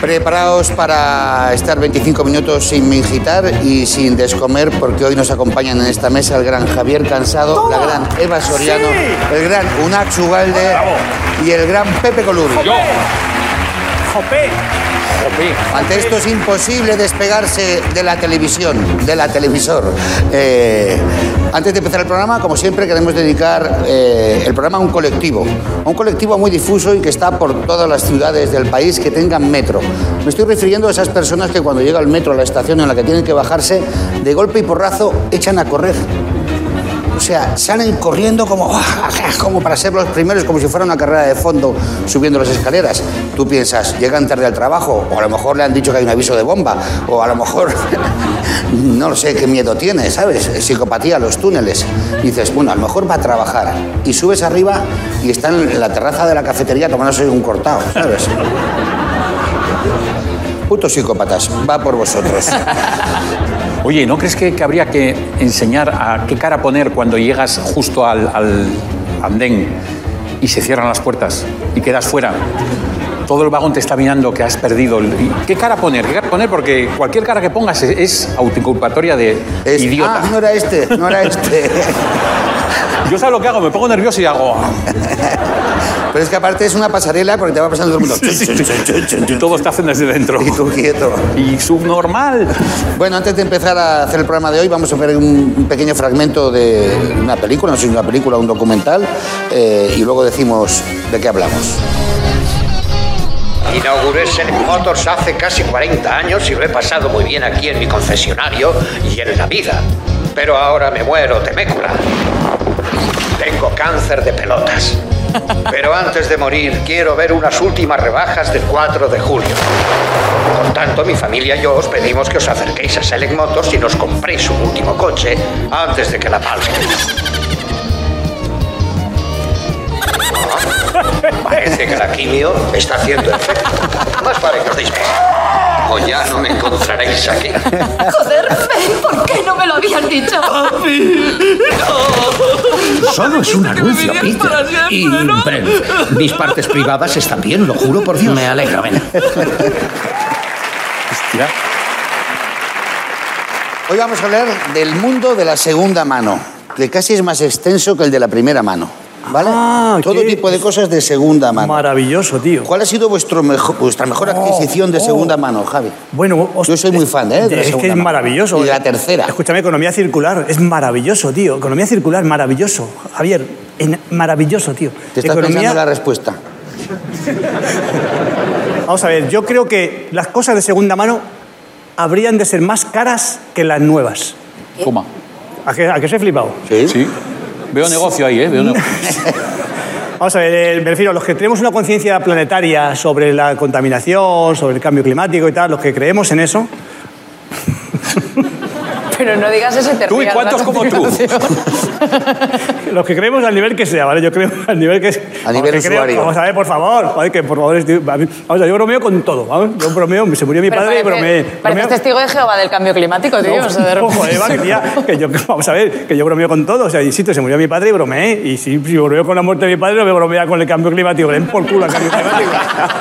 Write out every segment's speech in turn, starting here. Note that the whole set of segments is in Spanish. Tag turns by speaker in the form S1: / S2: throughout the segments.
S1: Preparaos para estar 25 minutos sin mingitar y sin descomer, porque hoy nos acompañan en esta mesa el gran Javier Cansado, la gran Eva Soriano,
S2: ¡Sí!
S1: el gran Unax Ugalde y el gran Pepe Coluri.
S2: ¡Jopé!
S1: Ante esto es imposible despegarse de la televisión, de la televisor. Eh, antes de empezar el programa, como siempre, queremos dedicar eh, el programa a un colectivo, a un colectivo muy difuso y que está por todas las ciudades del país que tengan metro. Me estoy refiriendo a esas personas que cuando llega el metro a la estación en la que tienen que bajarse, de golpe y porrazo echan a correr. O sea, salen corriendo como, "Ah, como para ser los primeros, como si fuera una carrera de fondo subiendo las escaleras. Tú piensas, llegan tarde al trabajo, o a lo mejor le han dicho que hay un aviso de bomba, o a lo mejor, no sé qué miedo tiene, ¿sabes? Psicopatía, los túneles. Dices, bueno, a lo mejor va a trabajar. Y subes arriba y están en la terraza de la cafetería tomándose un cortado, ¿sabes? Putos psicópatas, va por vosotros.
S3: Oye, ¿no crees que, que habría que enseñar a qué cara poner cuando llegas justo al, al andén y se cierran las puertas y quedas fuera? Todo el vagón te está mirando que has perdido. el- y ¿Qué cara poner? ¿Qué cara poner? Porque cualquier cara que pongas es, es autoinculpatoria de
S1: Es-
S3: idiota.
S1: Ah, no era este, no era este.
S3: Yo sabes lo que hago, me pongo nervioso y hago... "Ah".
S1: Pero es que aparte es una pasarela porque te va pasando todo el mundo.
S3: Y todos te hacen desde dentro.
S1: Y tú quieto.
S3: Y subnormal.
S1: Bueno, antes de empezar a hacer el programa de hoy, vamos a ver un un pequeño fragmento de una película, no sé si una película o un documental, eh, y luego decimos de qué hablamos.
S4: Inauguré Select Motors hace casi 40 años y lo he pasado muy bien aquí en mi concesionario y en la vida. Pero ahora me muero temécula. Tengo cáncer de pelotas. Pero antes de morir quiero ver unas últimas rebajas del 4 de julio. Por tanto, mi familia y yo os pedimos que os acerquéis a Select Motors y nos compréis un último coche antes de que la palmen. Parece que la quimio está haciendo efecto. Más vale que os deis prisa. O ya no me encontraréis aquí.
S5: Joder, Fey, ¿por qué no me lo habían dicho?
S6: Ah,
S7: Solo es un anuncio, Peter. Y Brent.
S4: Mis partes privadas están bien, lo juro por Dios. Me alegro, ven.
S3: Hostia.
S1: Hoy vamos a hablar del mundo de la segunda mano, que casi es más extenso que el de la primera mano. ¿Vale?
S2: Ah,
S1: Todo
S2: qué-
S1: tipo de cosas de segunda mano.
S2: Maravilloso, tío.
S1: ¿Cuál ha sido vuestro mejo- vuestra mejor
S2: Oh,
S1: adquisición de
S2: oh.
S1: segunda mano, Javi?
S2: Bueno,
S1: Yo soy muy fan, ¿eh? de la
S2: es
S1: segunda
S2: que es
S1: mano.
S2: maravilloso.
S1: Y de la tercera.
S2: Escúchame, economía circular, es maravilloso, tío. Economía circular, maravilloso. Javier, en- maravilloso, tío.
S1: Te estás
S2: economía,
S1: pensando la respuesta.
S2: Vamos a ver, yo creo que las cosas de segunda mano habrían de ser más caras que las nuevas.
S3: Toma.
S2: ¿A qué, a qué os he flipado?
S3: Sí. Veo negocio ahí, ¿eh? Veo negocio.
S2: Vamos a ver, eh, me refiero a los que tenemos una conciencia planetaria sobre la contaminación, sobre el cambio climático y tal, los que creemos en eso.
S6: Pero no digas ese término.
S3: Tú y cuántos como tú.
S2: Los que creemos al nivel que sea, ¿vale? Yo creo al nivel que
S1: A nivel
S2: que creo-
S1: usuario.
S2: vamos a ver, por favor. Joder, que por favor, estoy- a mí- vamos a ver, yo bromeo con todo, ¿vamos? Yo bromeo, se murió mi
S6: Pero
S2: padre y bromeé.
S6: parece- pareces
S2: bromeo-
S6: testigo de Jehová del cambio climático, tío.
S2: No,
S6: o sea, de
S2: no,
S6: repente-
S3: eh,
S2: joder, vale, tía, que yo, vamos a ver, que yo bromeo con todo. O sea, insisto, se murió mi padre y bromeé. Y si, si bromeo con la muerte de mi padre, no voy a bromear con el cambio climático. Le den por culo al cambio climático.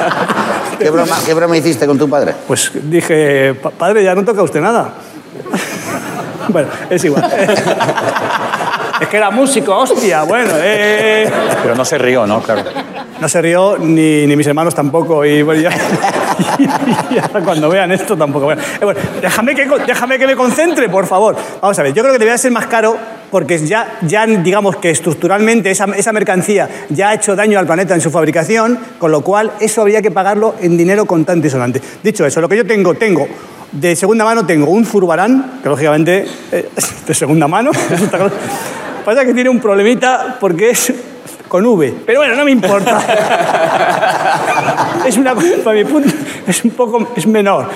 S1: ¿Qué broma, ¿Qué broma hiciste con tu padre?
S2: Pues dije, "Pa- padre, ya no toca usted nada. bueno, es igual. es que era músico, hostia. Bueno, eh, eh, eh.
S3: Pero no se rió, ¿no? Claro.
S2: No se rió ni, ni mis hermanos tampoco. Y bueno, ya, y ahora cuando vean esto tampoco. Bueno, eh, bueno, déjame, que, con- déjame que me concentre, por favor. Vamos a ver, yo creo que debería ser más caro porque ya, ya digamos que estructuralmente esa, esa mercancía ya ha hecho daño al planeta en su fabricación, con lo cual eso habría que pagarlo en dinero contante y sonante. Dicho eso, lo que yo tengo, tengo. De segunda mano tengo un Zurbarán, que lógicamente eh, es de segunda mano. eso está claro. Pasa que tiene un problemita porque es con V. Pero bueno, no me importa. es una cosa, para mi punto, es un poco es menor.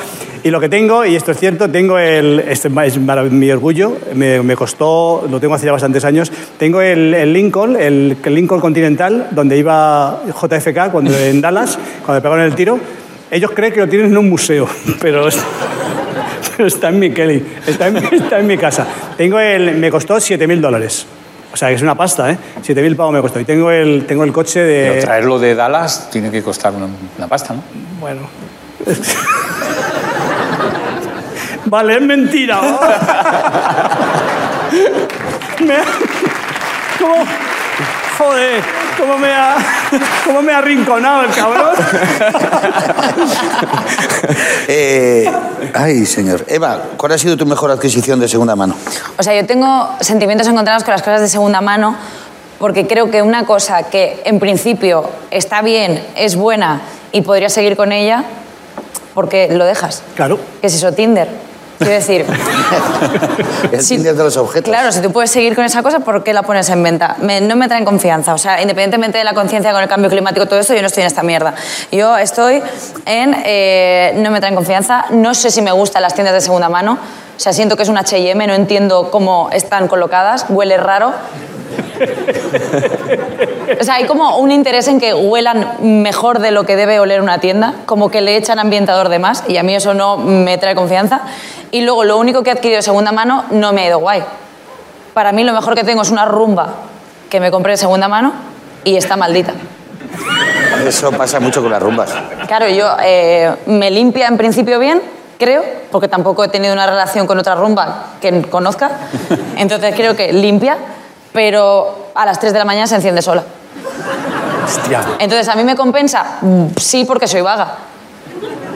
S2: Y lo que tengo, y esto es cierto, tengo el. Este es ma- es marav- mi orgullo, me, me costó, lo tengo hace ya bastantes años. Tengo el, el Lincoln, el, el Lincoln Continental, donde iba JFK cuando, en Dallas, cuando le pegaron el tiro. Ellos creen que lo tienen en un museo, pero. es- pero está en mi Kelly, está en, está en mi casa. Tengo el, me costó 7.000 dólares. O sea, que es una pasta, ¿eh? 7.000 pavos me costó. Y tengo el, tengo el coche
S1: Eh.
S3: Pero
S2: de...
S3: traerlo de Dallas tiene que costar una, una pasta, ¿no?
S2: Bueno, Vale, es mentira. Me ha- ¿Cómo? Joder, ¿cómo me ha, cómo me ha arrinconado el cabrón?
S1: Eh, ay, señor. Eva, ¿cuál ha sido tu mejor adquisición de segunda mano?
S6: O sea, yo tengo sentimientos encontrados con las cosas de segunda mano porque creo que una cosa que en principio está bien, es buena y podrías seguir con ella, porque lo dejas.
S2: Claro.
S6: ¿Qué es eso? Tinder. Quiero decir,
S1: El
S6: Sí.
S1: Tinder de los objetos.
S6: claro, si tú puedes seguir con esa cosa, ¿por qué la pones en venta? Me- no me traen confianza. O sea, independientemente de la conciencia con el cambio climático, todo eso, yo no estoy en esta mierda. Yo estoy en... eh, no me traen confianza. No sé si me gustan las tiendas de segunda mano. O sea, siento que es un H&M, no entiendo cómo están colocadas. Huele raro. O sea, hay como un interés en que huelan mejor de lo que debe oler una tienda, como que le echan ambientador de más, y a mí eso no me trae confianza. Y luego, lo único que he adquirido de segunda mano no me ha ido guay. Para mí, lo mejor que tengo es una rumba que me compré de segunda mano y está maldita.
S1: Eso pasa mucho con las rumbas.
S6: Claro, yo eh, me limpia en principio bien, creo, porque tampoco he tenido una relación con otra rumba que conozca. Entonces creo que limpia, pero a las 3 de la mañana se enciende sola. Entonces a mí me compensa, Mm, sí, porque soy vaga,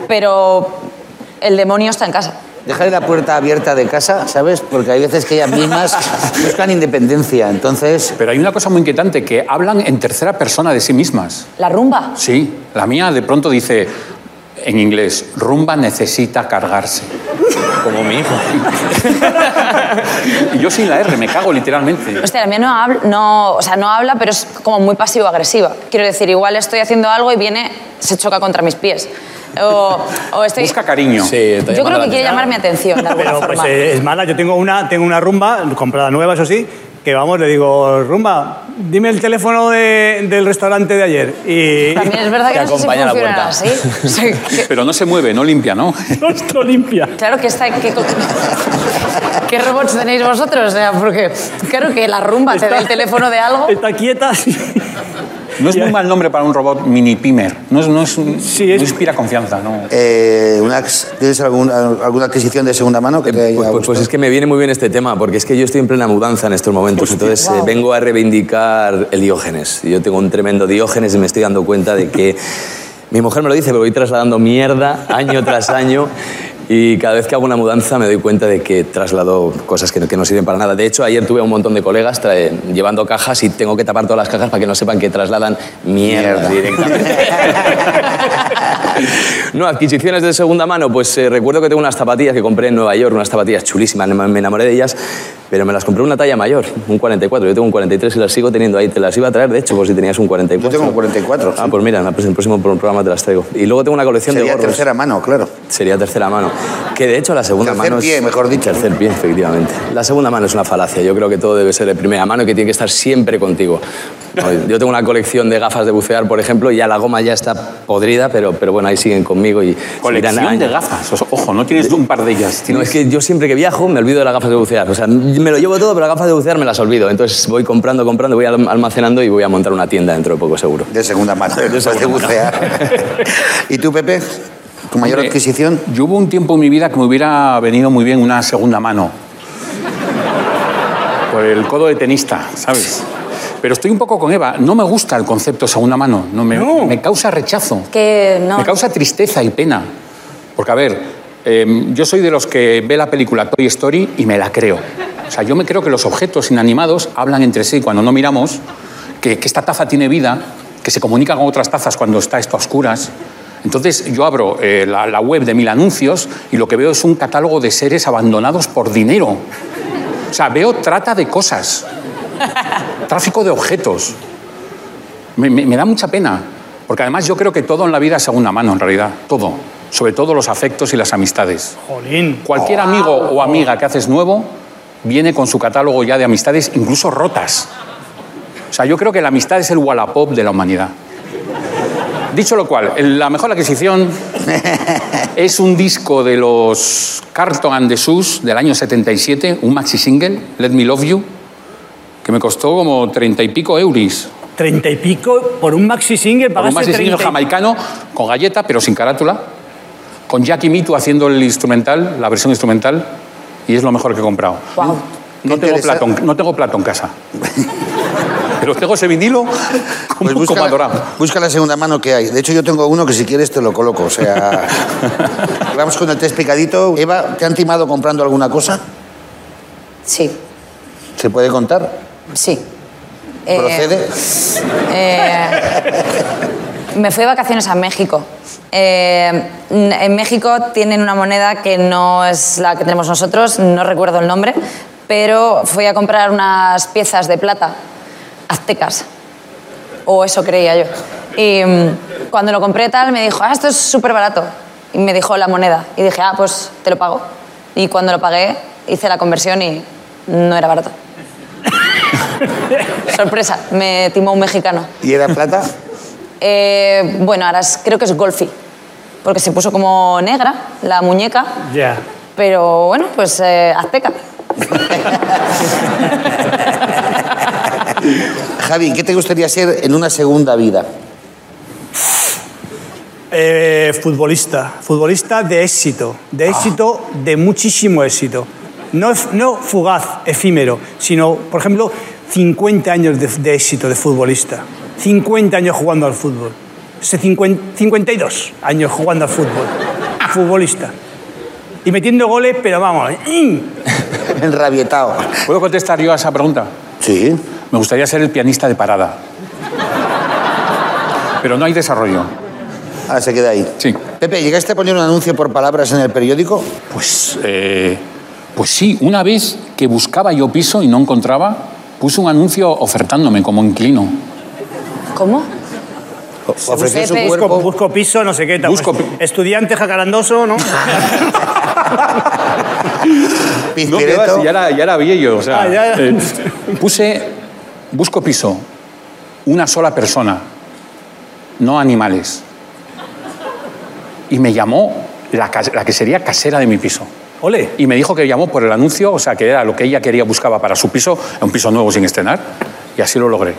S6: pero el demonio está en casa.
S1: Dejaré la puerta abierta de casa, ¿sabes? Porque hay veces que ellas mismas buscan independencia. Entonces,
S3: Pero hay una cosa muy inquietante, que hablan en tercera persona de sí mismas.
S6: La rumba.
S3: Sí, la mía de pronto dice, en inglés, rumba necesita cargarse.
S8: Como mi hijo.
S3: Y yo sin la R me cago literalmente.
S6: Hostia, la mía no habla, no, o sea, no habla, pero es como muy pasivo-agresiva. Quiero decir, igual estoy haciendo algo y viene, se choca contra mis pies. O, o estoy...
S3: Busca cariño.
S8: Sí, te
S6: Yo creo que
S8: llamará la
S6: quiere
S8: atención.
S6: llamar mi atención de alguna
S2: Pero pues
S6: forma.
S2: eh, es mala. Yo tengo una, tengo una rumba, comprada nueva, eso sí, que vamos, le digo, rumba, dime el teléfono de- del restaurante de ayer. Y,
S6: También es verdad que
S8: Te
S6: no sé si
S8: acompaña a la
S6: funcionará
S8: puerta.
S6: así. O sea, que-
S3: Pero no se mueve, no limpia, ¿no?
S2: no está limpia.
S6: claro que está... que- ¿Qué robots tenéis vosotros? O sea, porque claro que la rumba te da el teléfono de algo.
S2: Está quieta. sí.
S3: No es muy mal nombre para un robot mini pimer. No, es- no, es,
S2: Sí, es-
S3: no inspira confianza, ¿no?
S1: eh, una ex- ¿tienes algún- alguna adquisición de segunda mano que te haya
S8: Pues, pues- pues
S1: gustado?
S8: es que me viene muy bien este tema, porque es que yo estoy en plena mudanza en estos momentos. Entonces eh, vengo a reivindicar el diógenes. Yo tengo un tremendo diógenes y me estoy dando cuenta de que. Mi mujer me lo dice, pero voy trasladando mierda año tras año. Y cada vez que hago una mudanza me doy cuenta de que traslado cosas que no, que no sirven para nada. De hecho, ayer tuve a un montón de colegas trae- llevando cajas y tengo que tapar todas las cajas para que no sepan que trasladan
S1: Mierda.
S8: mierda. directamente. No, adquisiciones de segunda mano, pues eh, recuerdo que tengo unas zapatillas que compré en Nueva York, unas zapatillas chulísimas, me me enamoré de ellas, pero me las compré una talla mayor, un 44, yo tengo un 43 y las sigo teniendo ahí, te las iba a traer, de hecho, por si tenías un 44.
S1: Yo tengo un 44,
S8: Ah,
S1: sí.
S8: pues mira, en el próximo programa te las traigo. Y luego tengo una colección pues, de
S1: Sería
S8: gorros.
S1: tercera mano, claro.
S8: Sería tercera mano. Que de hecho la segunda
S1: Tercer
S8: mano. es-
S1: pie, mejor dicho.
S8: Tercer pie, efectivamente. La segunda mano es una falacia. Yo creo que todo debe ser de primera mano y que tiene que estar siempre contigo. Yo tengo una colección de gafas de bucear, por ejemplo, y ya la goma ya está podrida, pero, pero bueno, ahí siguen conmigo y. seguirán
S3: Colección
S8: años.
S3: de gafas. O sea, Ojo, no tienes un par de ellas.
S8: No,
S3: Tienes
S8: es que yo siempre que viajo me olvido de las gafas de bucear. O sea, me lo llevo todo, pero las gafas de bucear me las olvido. Entonces voy comprando, comprando, voy alm- almacenando y voy a montar una tienda dentro de poco, seguro.
S1: De segunda mano, de bucear. ¿Y tú, Pepe? ¿Tu mayor
S3: Hombre,
S1: adquisición?
S3: Yo hubo un tiempo en mi vida que me hubiera venido muy bien una segunda mano. Por el codo de tenista, ¿sabes? Pero estoy un poco con Eva. No me gusta el concepto segunda mano. No, me, me causa rechazo.
S6: Que no.
S3: Me causa tristeza y pena. Porque, a ver, eh, yo soy de los que ve la película Toy Story y me la creo. O sea, yo me creo que los objetos inanimados hablan entre sí cuando no miramos, que, que esta taza tiene vida, que se comunica con otras tazas cuando está esto a oscuras. Entonces yo abro eh, la, la web de mil anuncios y lo que veo es un catálogo de seres abandonados por dinero. O sea, veo trata de cosas, tráfico de objetos. Me, me- me da mucha pena, porque además yo creo que todo en la vida es segunda mano, en realidad, todo, sobre todo los afectos y las amistades.
S2: Jolín.
S3: Cualquier amigo o amiga que haces nuevo viene con su catálogo ya de amistades, incluso rotas. O sea, yo creo que la amistad es el Wallapop de la humanidad. Dicho lo cual, el- la mejor adquisición es un disco de los Carlton and the Sus del año 77, un maxi single, Let Me Love You, que me costó como treinta y pico euros.
S2: Treinta y pico por un maxi single
S3: Por
S2: pagaste
S3: un maxi single
S2: 30 y-
S3: jamaicano con galleta, pero sin carátula. con Jackie Mitu haciendo el instrumental, la versión instrumental, y es lo mejor que he comprado.
S6: Guau.
S3: No,
S1: Qué
S3: tengo
S1: interesa-
S3: plato, en- no tengo plato en casa. Pero tengo ese vinilo como,
S1: Pues
S3: un
S1: busca,
S3: como
S1: la,
S3: adorado.
S1: busca la segunda mano que hay. De hecho, yo tengo uno que si quieres te lo coloco. O sea, vamos con el test picadito. Eva, ¿te han timado comprando alguna cosa?
S6: Sí,
S1: ¿Se puede contar?
S6: sí. Eh,
S1: ¿Procede?
S6: Eh, me fui de vacaciones a México. Eh, n- en México tienen una moneda que no es la que tenemos nosotros, no recuerdo el nombre, pero fui a comprar unas piezas de plata aztecas. O eso creía yo. Y mm, cuando lo compré tal, me dijo, ah, esto es súper barato. Y me dijo la moneda. Y dije, ah, pues te lo pago. Y cuando lo pagué, hice la conversión y no era barato. Sorpresa, me timó un mexicano.
S1: ¿Y era plata?
S6: Eh, bueno, ahora es- creo que es Golfi, porque se puso como negra la muñeca,
S2: Ya.
S6: pero bueno, pues eh, azteca.
S1: Javi, ¿qué te gustaría ser en una segunda vida?
S2: Eh, futbolista, futbolista de éxito,
S3: Ah.
S2: de éxito, de muchísimo éxito. No, ef- no fugaz, efímero, sino, por ejemplo, 50 años de, de éxito de futbolista. 50 años jugando al fútbol. Ese 50 52 años jugando al fútbol. Futbolista. Y metiendo goles, pero vamos. ¡mm!
S1: Enrabietado.
S3: ¿Puedo contestar yo a esa pregunta?
S1: Sí.
S3: Me gustaría ser el pianista de parada. Pero no hay desarrollo.
S1: Ah, se queda ahí.
S3: Sí.
S1: Pepe, ¿llegaste a poner un anuncio por palabras en el periódico?
S3: Pues, eh, pues sí, una vez que buscaba yo piso y no encontraba, puse un anuncio ofertándome como inquilino.
S6: ¿Cómo?
S3: Oh,
S1: Ofreció su
S6: Pepe.
S2: Busco,
S1: cuerpo.
S2: busco piso, no sé qué. tal. pues,
S3: Busco pi-
S2: Estudiante jacarandoso,
S3: No,
S2: ¿no?
S3: que va,
S1: Pizpireto.
S3: si ya era, ya era viejo, o sea.
S2: Ah, ya, ya.
S3: eh, puse, busco piso, una sola persona, no animales. Y me llamó la, cas- la que sería casera de mi piso.
S2: Ole.
S3: Y me dijo que llamó por el anuncio, o sea, que era lo que ella quería, buscaba para su piso, un piso nuevo sin estrenar, y así lo logré.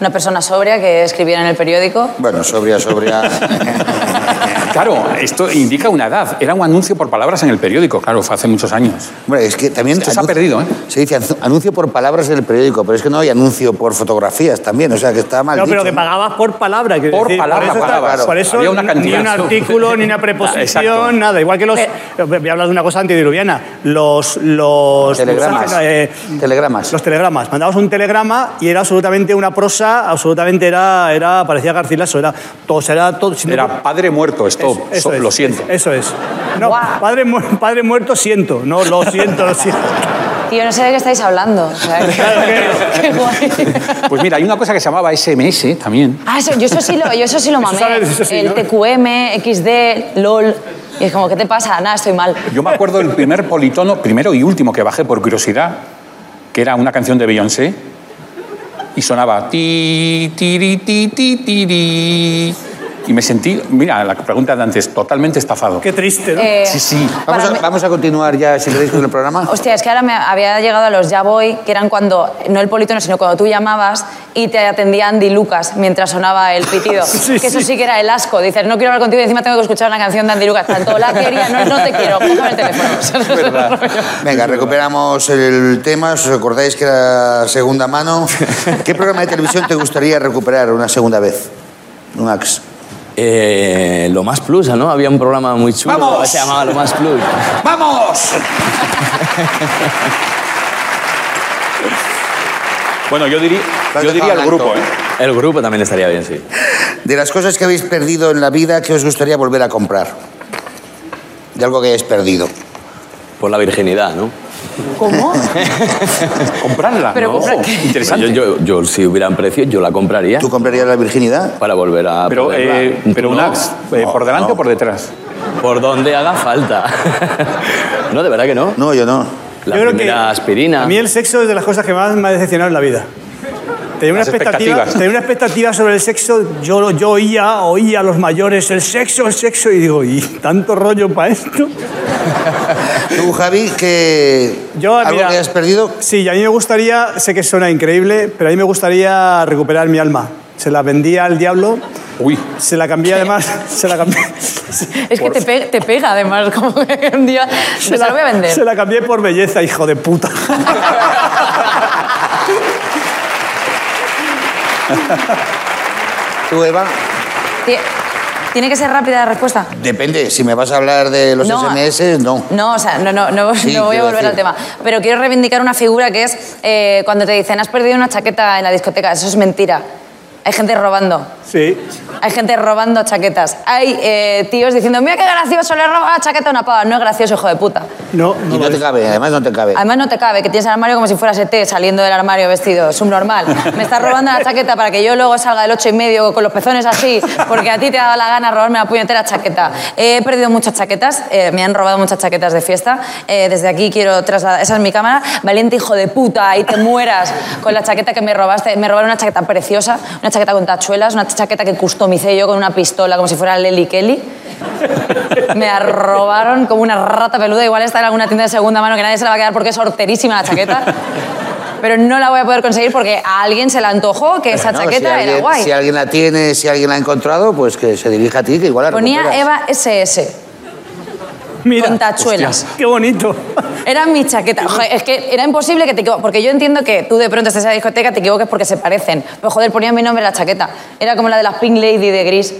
S6: Una persona sobria que escribiera en el periódico.
S1: Bueno, sobria, sobria.
S3: Claro, esto indica una edad. Era un anuncio por palabras en el periódico, claro, fue hace muchos años.
S1: Hombre, es que también...
S3: Esto se ha
S1: anuncio-
S3: perdido, ¿eh?
S1: Se dice anzu- anuncio por palabras en el periódico, pero es que no hay anuncio por fotografías también, o sea, que está mal
S2: No, pero
S1: dicho,
S2: que pagabas por palabra. quiero
S3: Por
S2: decir,
S3: palabra
S2: por eso, está-
S3: pagabas.
S2: por eso
S3: Había una cantidad.
S2: ni un artículo, ni una
S3: Exacto. Eh.
S2: preposición, nada. Igual que los... Voy a hablar de una cosa antediluviana. Los... los
S1: Telegramas.
S2: eh,
S1: Telegramas.
S2: los telegramas. Mandabas un telegrama y era absolutamente una prosa, absolutamente era... era parecía Garcilaso. Era todo, era todo... siendo-
S3: Era padre muerto,
S2: Eso-
S3: stop,
S2: eso
S3: so-
S2: es,
S3: lo siento.
S2: Eso es. No,
S6: Guau.
S2: padre, mu- padre muerto, siento. No, lo siento, lo siento.
S6: Tío, no sé de qué estáis hablando. o sea, que- qué guay.
S3: Pues mira, hay una cosa que se llamaba SMS también.
S6: Ah, eso, yo eso sí lo, yo eso sí lo mamé.
S2: sabes, eso sí,
S6: el
S2: ¿no?
S6: TQM, XD, LOL. Y es como, ¿qué te pasa? Nada, estoy mal.
S3: Yo me acuerdo el primer politono, primero y último que bajé por curiosidad, que era una canción de Beyoncé y sonaba ti ti ri, ti ti ti ri. y me sentí, mira, la pregunta de antes, totalmente estafado.
S2: Qué triste, ¿no?
S6: Eh,
S3: Sí, sí.
S1: Vamos
S6: para
S1: a,
S6: mí-
S1: vamos a continuar ya, si queréis, con el programa.
S6: Hostia, es que ahora me había llegado a los Ya Voy, que eran cuando, no el politono, sino cuando tú llamabas y te atendía Andy Lucas mientras sonaba el pitido.
S2: Sí,
S6: que eso
S2: sí.
S6: sí que era el asco. Dices, no quiero hablar contigo y encima tengo que escuchar una canción de Andy Lucas. Tanto la quería, no, no te quiero, cógeme el teléfono.
S1: Venga, recuperamos el tema. ¿Os acordáis que era segunda mano? ¿Qué programa de televisión te gustaría recuperar una segunda vez? Max.
S8: Eh, lo más plus, ¿no? Había un programa muy chulo.
S3: ¡Vamos!
S8: Se llamaba Lo más plus.
S3: ¡Vamos! bueno, yo diría,
S1: Estás
S3: yo diría el
S1: dejado
S3: grupo,
S1: blanco.
S3: ¿eh?
S8: El grupo también estaría bien, sí.
S1: De las cosas que habéis perdido en la vida, ¿qué os gustaría volver a comprar? De algo que hayáis perdido.
S8: Por la virginidad, ¿no?
S6: ¿Cómo?
S3: Comprarla.
S6: Pero
S3: ¿no?
S6: comprar
S3: Ojo,
S6: qué.
S3: Interesante.
S8: Yo, yo- yo, si hubiera un precio, yo la compraría
S1: ¿Tú comprarías la virginidad?
S8: para volver a.
S3: Pero,
S8: poderla.
S3: eh,
S8: ¿Tú
S3: pero
S8: no?
S3: Nax, eh,
S1: No,
S3: ¿por delante
S1: no.
S3: o por detrás?
S8: Por donde haga falta. no, de verdad que no.
S1: No, yo no.
S8: La
S2: Yo creo
S8: primera
S2: que
S8: aspirina.
S2: A mí el sexo es de las cosas que más me ha decepcionado en la vida. Tenía una,
S3: Las
S2: expectativa,
S3: expectativas.
S2: tenía una expectativa sobre el sexo. Yo, lo- yo oía, oía a los mayores, el sexo, el sexo, y digo, ¿y tanto rollo para esto?
S1: ¿Tú, Javi, que
S2: Yo,
S1: algo
S2: mira,
S1: que hayas perdido?
S2: Sí, y a mí me gustaría, sé que suena increíble, pero a mí me gustaría recuperar mi alma. se la vendía al diablo.
S3: Uy.
S2: Se la cambié además, se la cambié.
S6: Es que te, pe- te pega, además, como que un día pues, se, la, voy a vender.
S2: se la cambié por belleza, hijo de puta.
S1: ¿Tú, Eva?
S6: Ti- Tiene que ser rápida la respuesta.
S1: Depende, si me vas a hablar de los SMS, no.
S6: No, o sea, no, no, no,
S1: Sí,
S6: no voy a
S1: quiero
S6: volver
S1: decir.
S6: al tema. Pero quiero reivindicar una figura que es eh, cuando te dicen, has perdido una chaqueta en la discoteca. Eso es mentira. Hay gente robando.
S2: Sí.
S6: Hay gente robando chaquetas. Hay eh, tíos diciendo, mira qué gracioso, le he robado la chaqueta a una pava. No es gracioso, hijo de puta.
S2: No, no.
S1: Y no te cabe, además no te cabe.
S6: Además no te cabe, que tienes el armario como si fueras ET saliendo del armario vestido, subnormal. Me estás robando la chaqueta para que yo luego salga del ocho y medio con los pezones así, porque a ti te ha dado la gana robarme la puñetera chaqueta. He perdido muchas chaquetas, eh, me han robado muchas chaquetas de fiesta. Eh, desde aquí quiero trasladar, esa es mi cámara, valiente hijo de puta, ahí te mueras con la chaqueta que me robaste. Me robaron una chaqueta preciosa, una chaqueta con tachuelas, una chaqueta que customicé yo con una pistola como si fuera Lely Kelly. Me arrobaron como una rata peluda. Igual está en alguna tienda de segunda mano que nadie se la va a quedar porque es horterísima la chaqueta. Pero no la voy a poder conseguir porque a alguien se le antojó que esa
S1: No,
S6: chaqueta
S1: si
S6: era
S1: alguien,
S6: guay.
S1: Si alguien la tiene, si alguien la ha encontrado, pues que se dirija a ti, que igual la
S6: Ponía
S1: recuperas.
S6: Eva SS
S2: Mira,
S6: con tachuelas.
S2: qué bonito.
S6: Era mi chaqueta. Joder, es que era imposible que te equivoques. Porque yo entiendo que tú de pronto estés en la discoteca te equivoques porque se parecen. Pero joder, ponía mi nombre en la chaqueta. Era como la de las Pink Lady de Gris.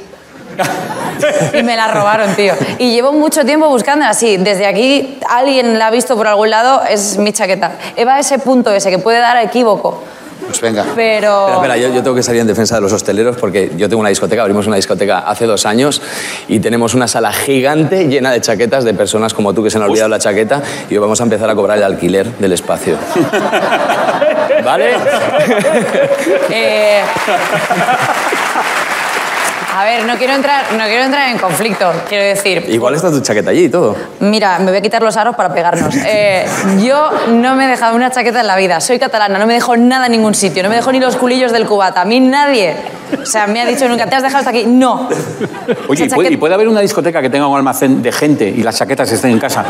S6: y me la robaron, tío. Y llevo mucho tiempo buscándola así. Desde aquí alguien la ha visto por algún lado, es mi chaqueta. Eva ese punto ese que puede dar a equívoco.
S1: Pues venga.
S6: Pero.
S8: Espera, espera, yo, yo tengo que salir en defensa de los hosteleros porque yo tengo una discoteca, abrimos una discoteca hace dos años y tenemos una sala gigante llena de chaquetas de personas como tú que se han olvidado la chaqueta y hoy vamos a empezar a cobrar el alquiler del espacio. ¿Vale?
S6: eh, A ver, no quiero, entrar, no quiero entrar en conflicto, quiero decir.
S8: Igual está tu chaqueta allí y todo.
S6: Mira, me voy a quitar los aros para pegarnos. Eh, yo no me he dejado una chaqueta en la vida. Soy catalana, no me dejo nada en ningún sitio. No me dejo ni los culillos del cubata. A mí nadie. O sea, me ha dicho nunca, ¿te has dejado hasta aquí? No.
S3: Oye, ¿y
S6: Esa
S3: puede,
S6: chaqueta-
S3: y puede haber una discoteca que tenga un almacén de gente y las chaquetas estén en casa?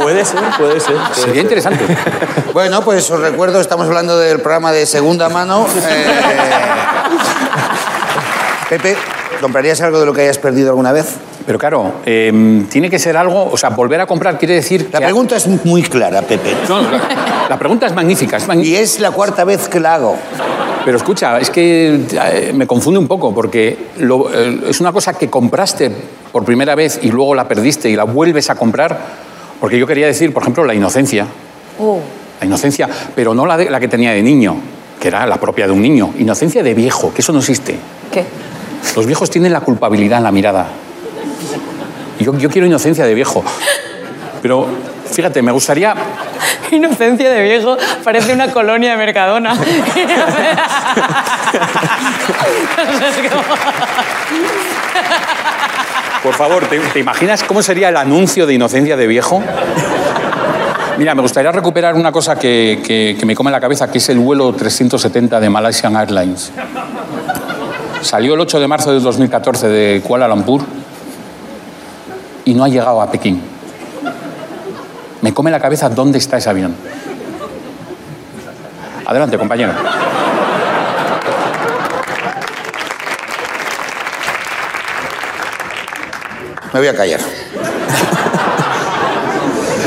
S8: Puede ser, puede ser.
S3: Sería interesante.
S1: Bueno, pues os recuerdo, estamos hablando del programa de segunda mano. Eh, Pepe, ¿comprarías algo de lo que hayas perdido alguna vez?
S3: Pero claro, eh, tiene que ser algo, o sea, volver a comprar quiere decir...
S1: La
S3: que-
S1: pregunta es muy clara, Pepe.
S3: No, la, la pregunta es magnífica, es magnífica.
S1: Y es la cuarta vez que la hago.
S3: Pero escucha, es que eh, me confunde un poco porque lo- eh, es una cosa que compraste por primera vez y luego la perdiste y la vuelves a comprar. Porque yo quería decir, por ejemplo, la inocencia.
S6: Uh,
S3: La inocencia, pero no la, de- la que tenía de niño, que era la propia de un niño. Inocencia de viejo, que eso no existe.
S6: ¿Qué?
S3: Los viejos tienen la culpabilidad en la mirada. Y Yo, yo quiero inocencia de viejo. Pero fíjate, me gustaría.
S6: Inocencia de viejo parece una colonia de Mercadona. O sea, es como-
S3: Por favor, ¿te, te imaginas cómo sería el anuncio de inocencia de viejo? Mira, me gustaría recuperar una cosa que, que- que me come la cabeza, que es el vuelo 370 de Malaysian Airlines. Salió el 8 de marzo de 2014 de Kuala Lumpur y no ha llegado a Pekín. Me come la cabeza dónde está ese avión. Adelante, compañero.
S1: Me voy a callar.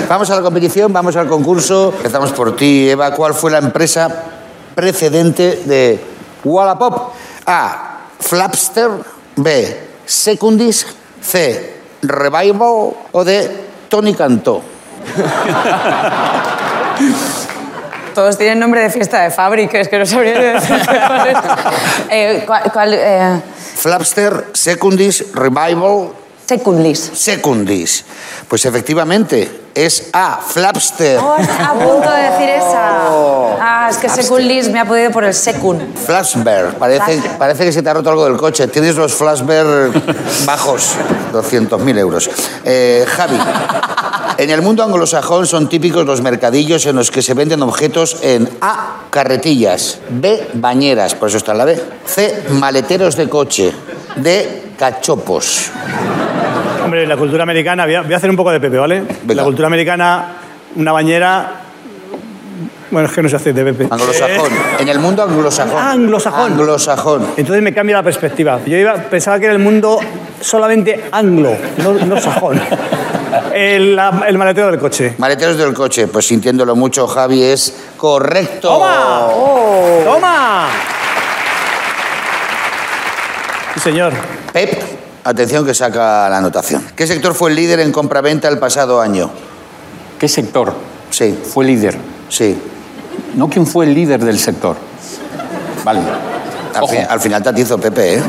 S1: Vamos a la competición, vamos al concurso. Empezamos por ti, Eva. ¿Cuál fue la empresa precedente de Wallapop? A. Flapster. B. Secundis. C. Revival. O D. Tony Cantó.
S6: Todos tienen nombre de fiesta de fábrica, es que no sabría decir cuál es. Eh, ¿Cuál? cuál, eh?
S1: Flapster, Secundis, Revival,
S6: Secundlis.
S1: Secundis. Pues efectivamente, es A. Flapster.
S6: Oh, estaba a punto de decir esa.
S1: Oh.
S6: Ah, es que Secundlis me ha podido por el Secund.
S1: Flashberg, parece,
S6: Flashback.
S1: parece que se te ha roto algo del coche. Tienes los flashberg bajos, 200.000 euros. Eh, Javi, en el mundo anglosajón son típicos los mercadillos en los que se venden objetos en A, carretillas, B, bañeras, por eso está la B, C, maleteros de coche, D, cachopos.
S2: Hombre, la cultura americana, voy a, voy a hacer un poco de Pepe, ¿vale?
S1: Venga.
S2: La cultura americana, una bañera, Bueno, es que no se hace de Pepe.
S1: Anglosajón.
S2: Eh,
S1: En el mundo anglosajón.
S2: Ah, anglosajón.
S1: Anglosajón.
S2: Entonces me cambia la perspectiva. Yo iba, pensaba que era el mundo solamente anglo, no, no sajón. El, la- el maletero del coche.
S1: Maleteros del coche, pues sintiéndolo mucho, Javi, es correcto.
S2: ¡Toma! ¡Toma! Sí, señor.
S1: Pep, atención que saca la anotación. ¿Qué sector fue el líder en compraventa el pasado año?
S3: ¿Qué sector
S1: Sí,
S3: fue líder?
S1: sí.
S3: No quién fue el líder del sector. Vale.
S1: Al,
S3: Ojo.
S1: fin- al final tatizo, Pepe, ¿eh?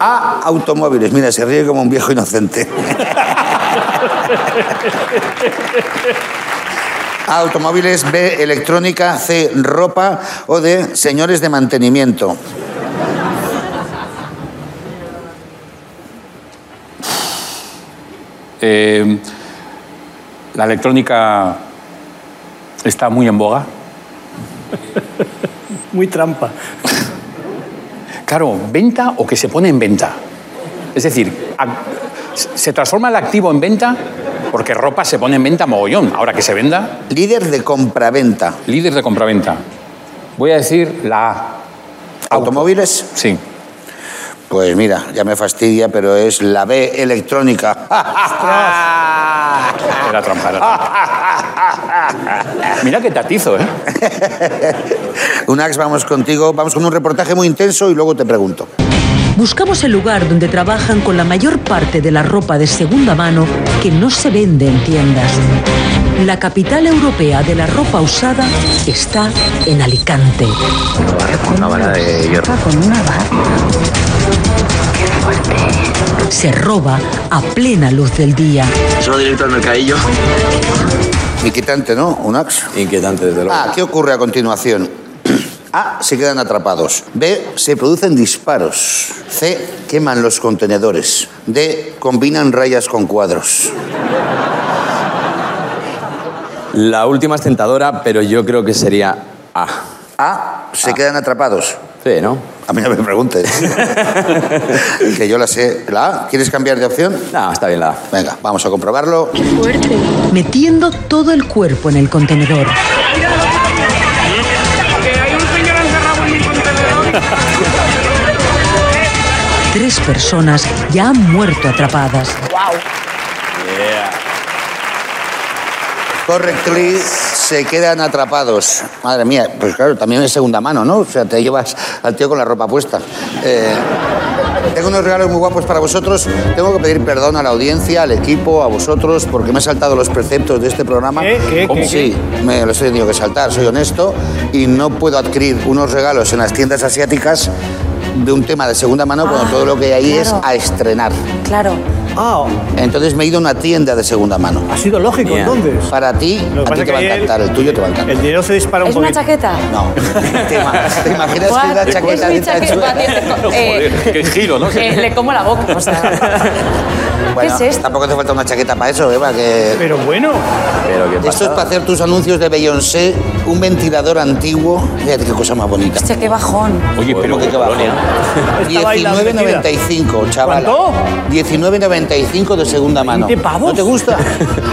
S1: A, automóviles. Mira, se ríe como un viejo inocente. A, automóviles. B, electrónica. C, ropa. O D, señores de mantenimiento.
S3: Eh, la electrónica está muy en boga.
S2: Muy trampa.
S3: Claro, venta o que se pone en venta. Es decir, ac- se transforma el activo en venta porque ropa se pone en venta mogollón. Ahora que se venda,
S1: Líder de compraventa.
S3: líder de compraventa. Voy a decir la A.
S1: ¿Automóviles?
S3: Sí.
S1: Pues mira, ya me fastidia, pero es la B electrónica.
S3: Era trampa, era trampa. Mira qué tatizo, ¿eh?
S1: Unax, vamos contigo. Vamos con un reportaje muy intenso y luego te pregunto.
S9: Buscamos el lugar donde trabajan con la mayor parte de la ropa de segunda mano que no se vende en tiendas. La capital europea de la ropa usada está en Alicante. Se roba a plena luz del día.
S1: Inquietante, ¿no? Unax.
S8: Inquietante, desde luego.
S1: Ah, ¿qué ocurre a continuación? A. Se quedan atrapados. B. Se producen disparos. C. Queman los contenedores. D. Combinan rayas con cuadros.
S8: La última es tentadora, pero yo creo que sería A.
S1: A. Se quedan atrapados.
S8: Sí, ¿no?
S1: A mí no me preguntes. que yo la sé. ¿La A? ¿Quieres cambiar de opción?
S8: No, está bien la A.
S1: Venga, vamos a comprobarlo.
S9: metiendo todo el cuerpo en el contenedor. Tres personas ya han muerto atrapadas.
S1: Correctly, se quedan atrapados. Madre mía, pues claro, también es segunda mano, ¿no? O sea, te llevas al tío con la ropa puesta. Eh, tengo unos regalos muy guapos para vosotros. Tengo que pedir perdón a la audiencia, al equipo, a vosotros, porque me he saltado los preceptos de este programa.
S2: ¿Qué? ¿Qué? ¿Cómo? ¿Qué?
S1: Sí, me los he tenido que saltar, soy honesto, y no puedo adquirir unos regalos en las tiendas asiáticas de un tema de segunda mano cuando todo lo que hay ahí
S6: claro.
S1: es a estrenar.
S6: Claro.
S2: Ah,
S1: Entonces me he ido a una tienda de segunda mano.
S2: ha sido lógico
S8: Bien.
S2: entonces.
S1: Para ti,
S2: Pues, Lo
S1: a
S2: que pasa
S1: ti te
S2: que
S1: va a
S2: ahí el-
S1: encantar, el tuyo te va a encantar.
S2: El dinero se dispara un
S6: ¿Es una
S2: poquito.
S6: chaqueta?
S1: No, te, ima- te imaginas que una
S6: What?
S1: chaqueta
S6: Es mi
S1: de
S6: chaqueta. Eh,
S3: Joder, qué giro, ¿no?
S6: eh, le como la boca, o sea. ¿Qué es esto?
S1: Tampoco hace falta una chaqueta para eso, Eva, que...
S2: Pero bueno,
S8: Pero qué
S1: Esto es para
S8: pasa.
S1: hacer tus anuncios de Beyoncé, un ventilador antiguo. Fíjate qué cosa más bonita.
S6: Hostia, qué bajón.
S3: Oye, pero
S1: ¿Cómo que qué bajón?
S2: Estaba ahí la
S1: 19.95, chaval.
S2: ¿Cuánto?
S1: 19.95 de segunda mano.
S2: ¿20 pavos?
S1: ¿No te gusta?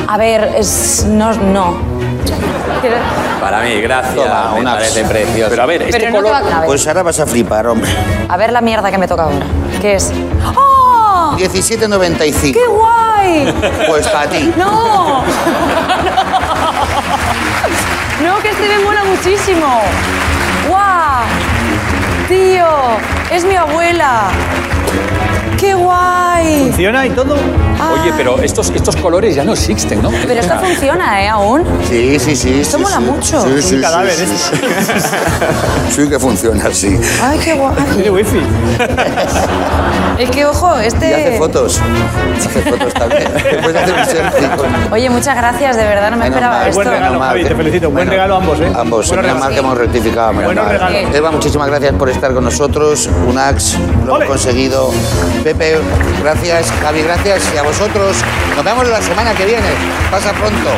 S6: A ver, es. No. no. Pero,
S8: Para mí, gracias.
S1: Toma,
S8: me
S1: una-
S8: parece precioso.
S3: Pero a ver, este
S6: pero no te va a
S3: color...
S6: caber.
S1: Pues ahora vas a flipar, hombre.
S6: A ver la mierda que me toca ahora. ¿Qué es?
S2: Ah.
S6: ¡Oh! ¡Qué
S1: 17.95.
S6: guay!
S1: Pues para ti.
S6: ¡No! ¡No, que este me mola muchísimo! ¡Guau! ¡Tío! ¡Es mi abuela! ¡Qué guay!
S2: funciona y todo.
S3: Oye, pero estos, estos colores ya no existen, ¿no?
S6: Pero esto funciona, ¿eh? Aún.
S1: Sí, sí, sí.
S6: Esto
S1: sí,
S6: mola
S1: sí.
S6: mucho.
S1: Sí,
S6: Un
S1: sí, sí,
S2: cadáver,
S1: sí,
S2: ¿eh?
S1: sí. Sí que funciona, sí.
S6: ¡Ay, qué guay!
S2: Tiene wifi.
S6: Es que, ojo,
S1: Y hace
S6: este...
S1: fotos. Hace fotos también. Te puedes hacer un selfie con-
S6: Oye, muchas gracias, de verdad, no me
S1: Menos
S6: esperaba
S1: mal,
S6: esto.
S2: Buen regalo,
S1: menos mal.
S2: Javi, te felicito. Buen
S1: Bueno,
S2: regalo a ambos, ¿eh?
S1: Ambos.
S2: Buen
S1: Menos
S2: regalo.
S1: mal que hemos rectificado. menos
S2: Buenos
S1: mal.
S2: regalos.
S1: Eva, muchísimas gracias por estar con nosotros. Unax, lo
S2: Ole.
S1: hemos conseguido. Pepe, gracias. Javi, gracias. Y a vosotros, nos vemos la semana que viene. Pasa pronto.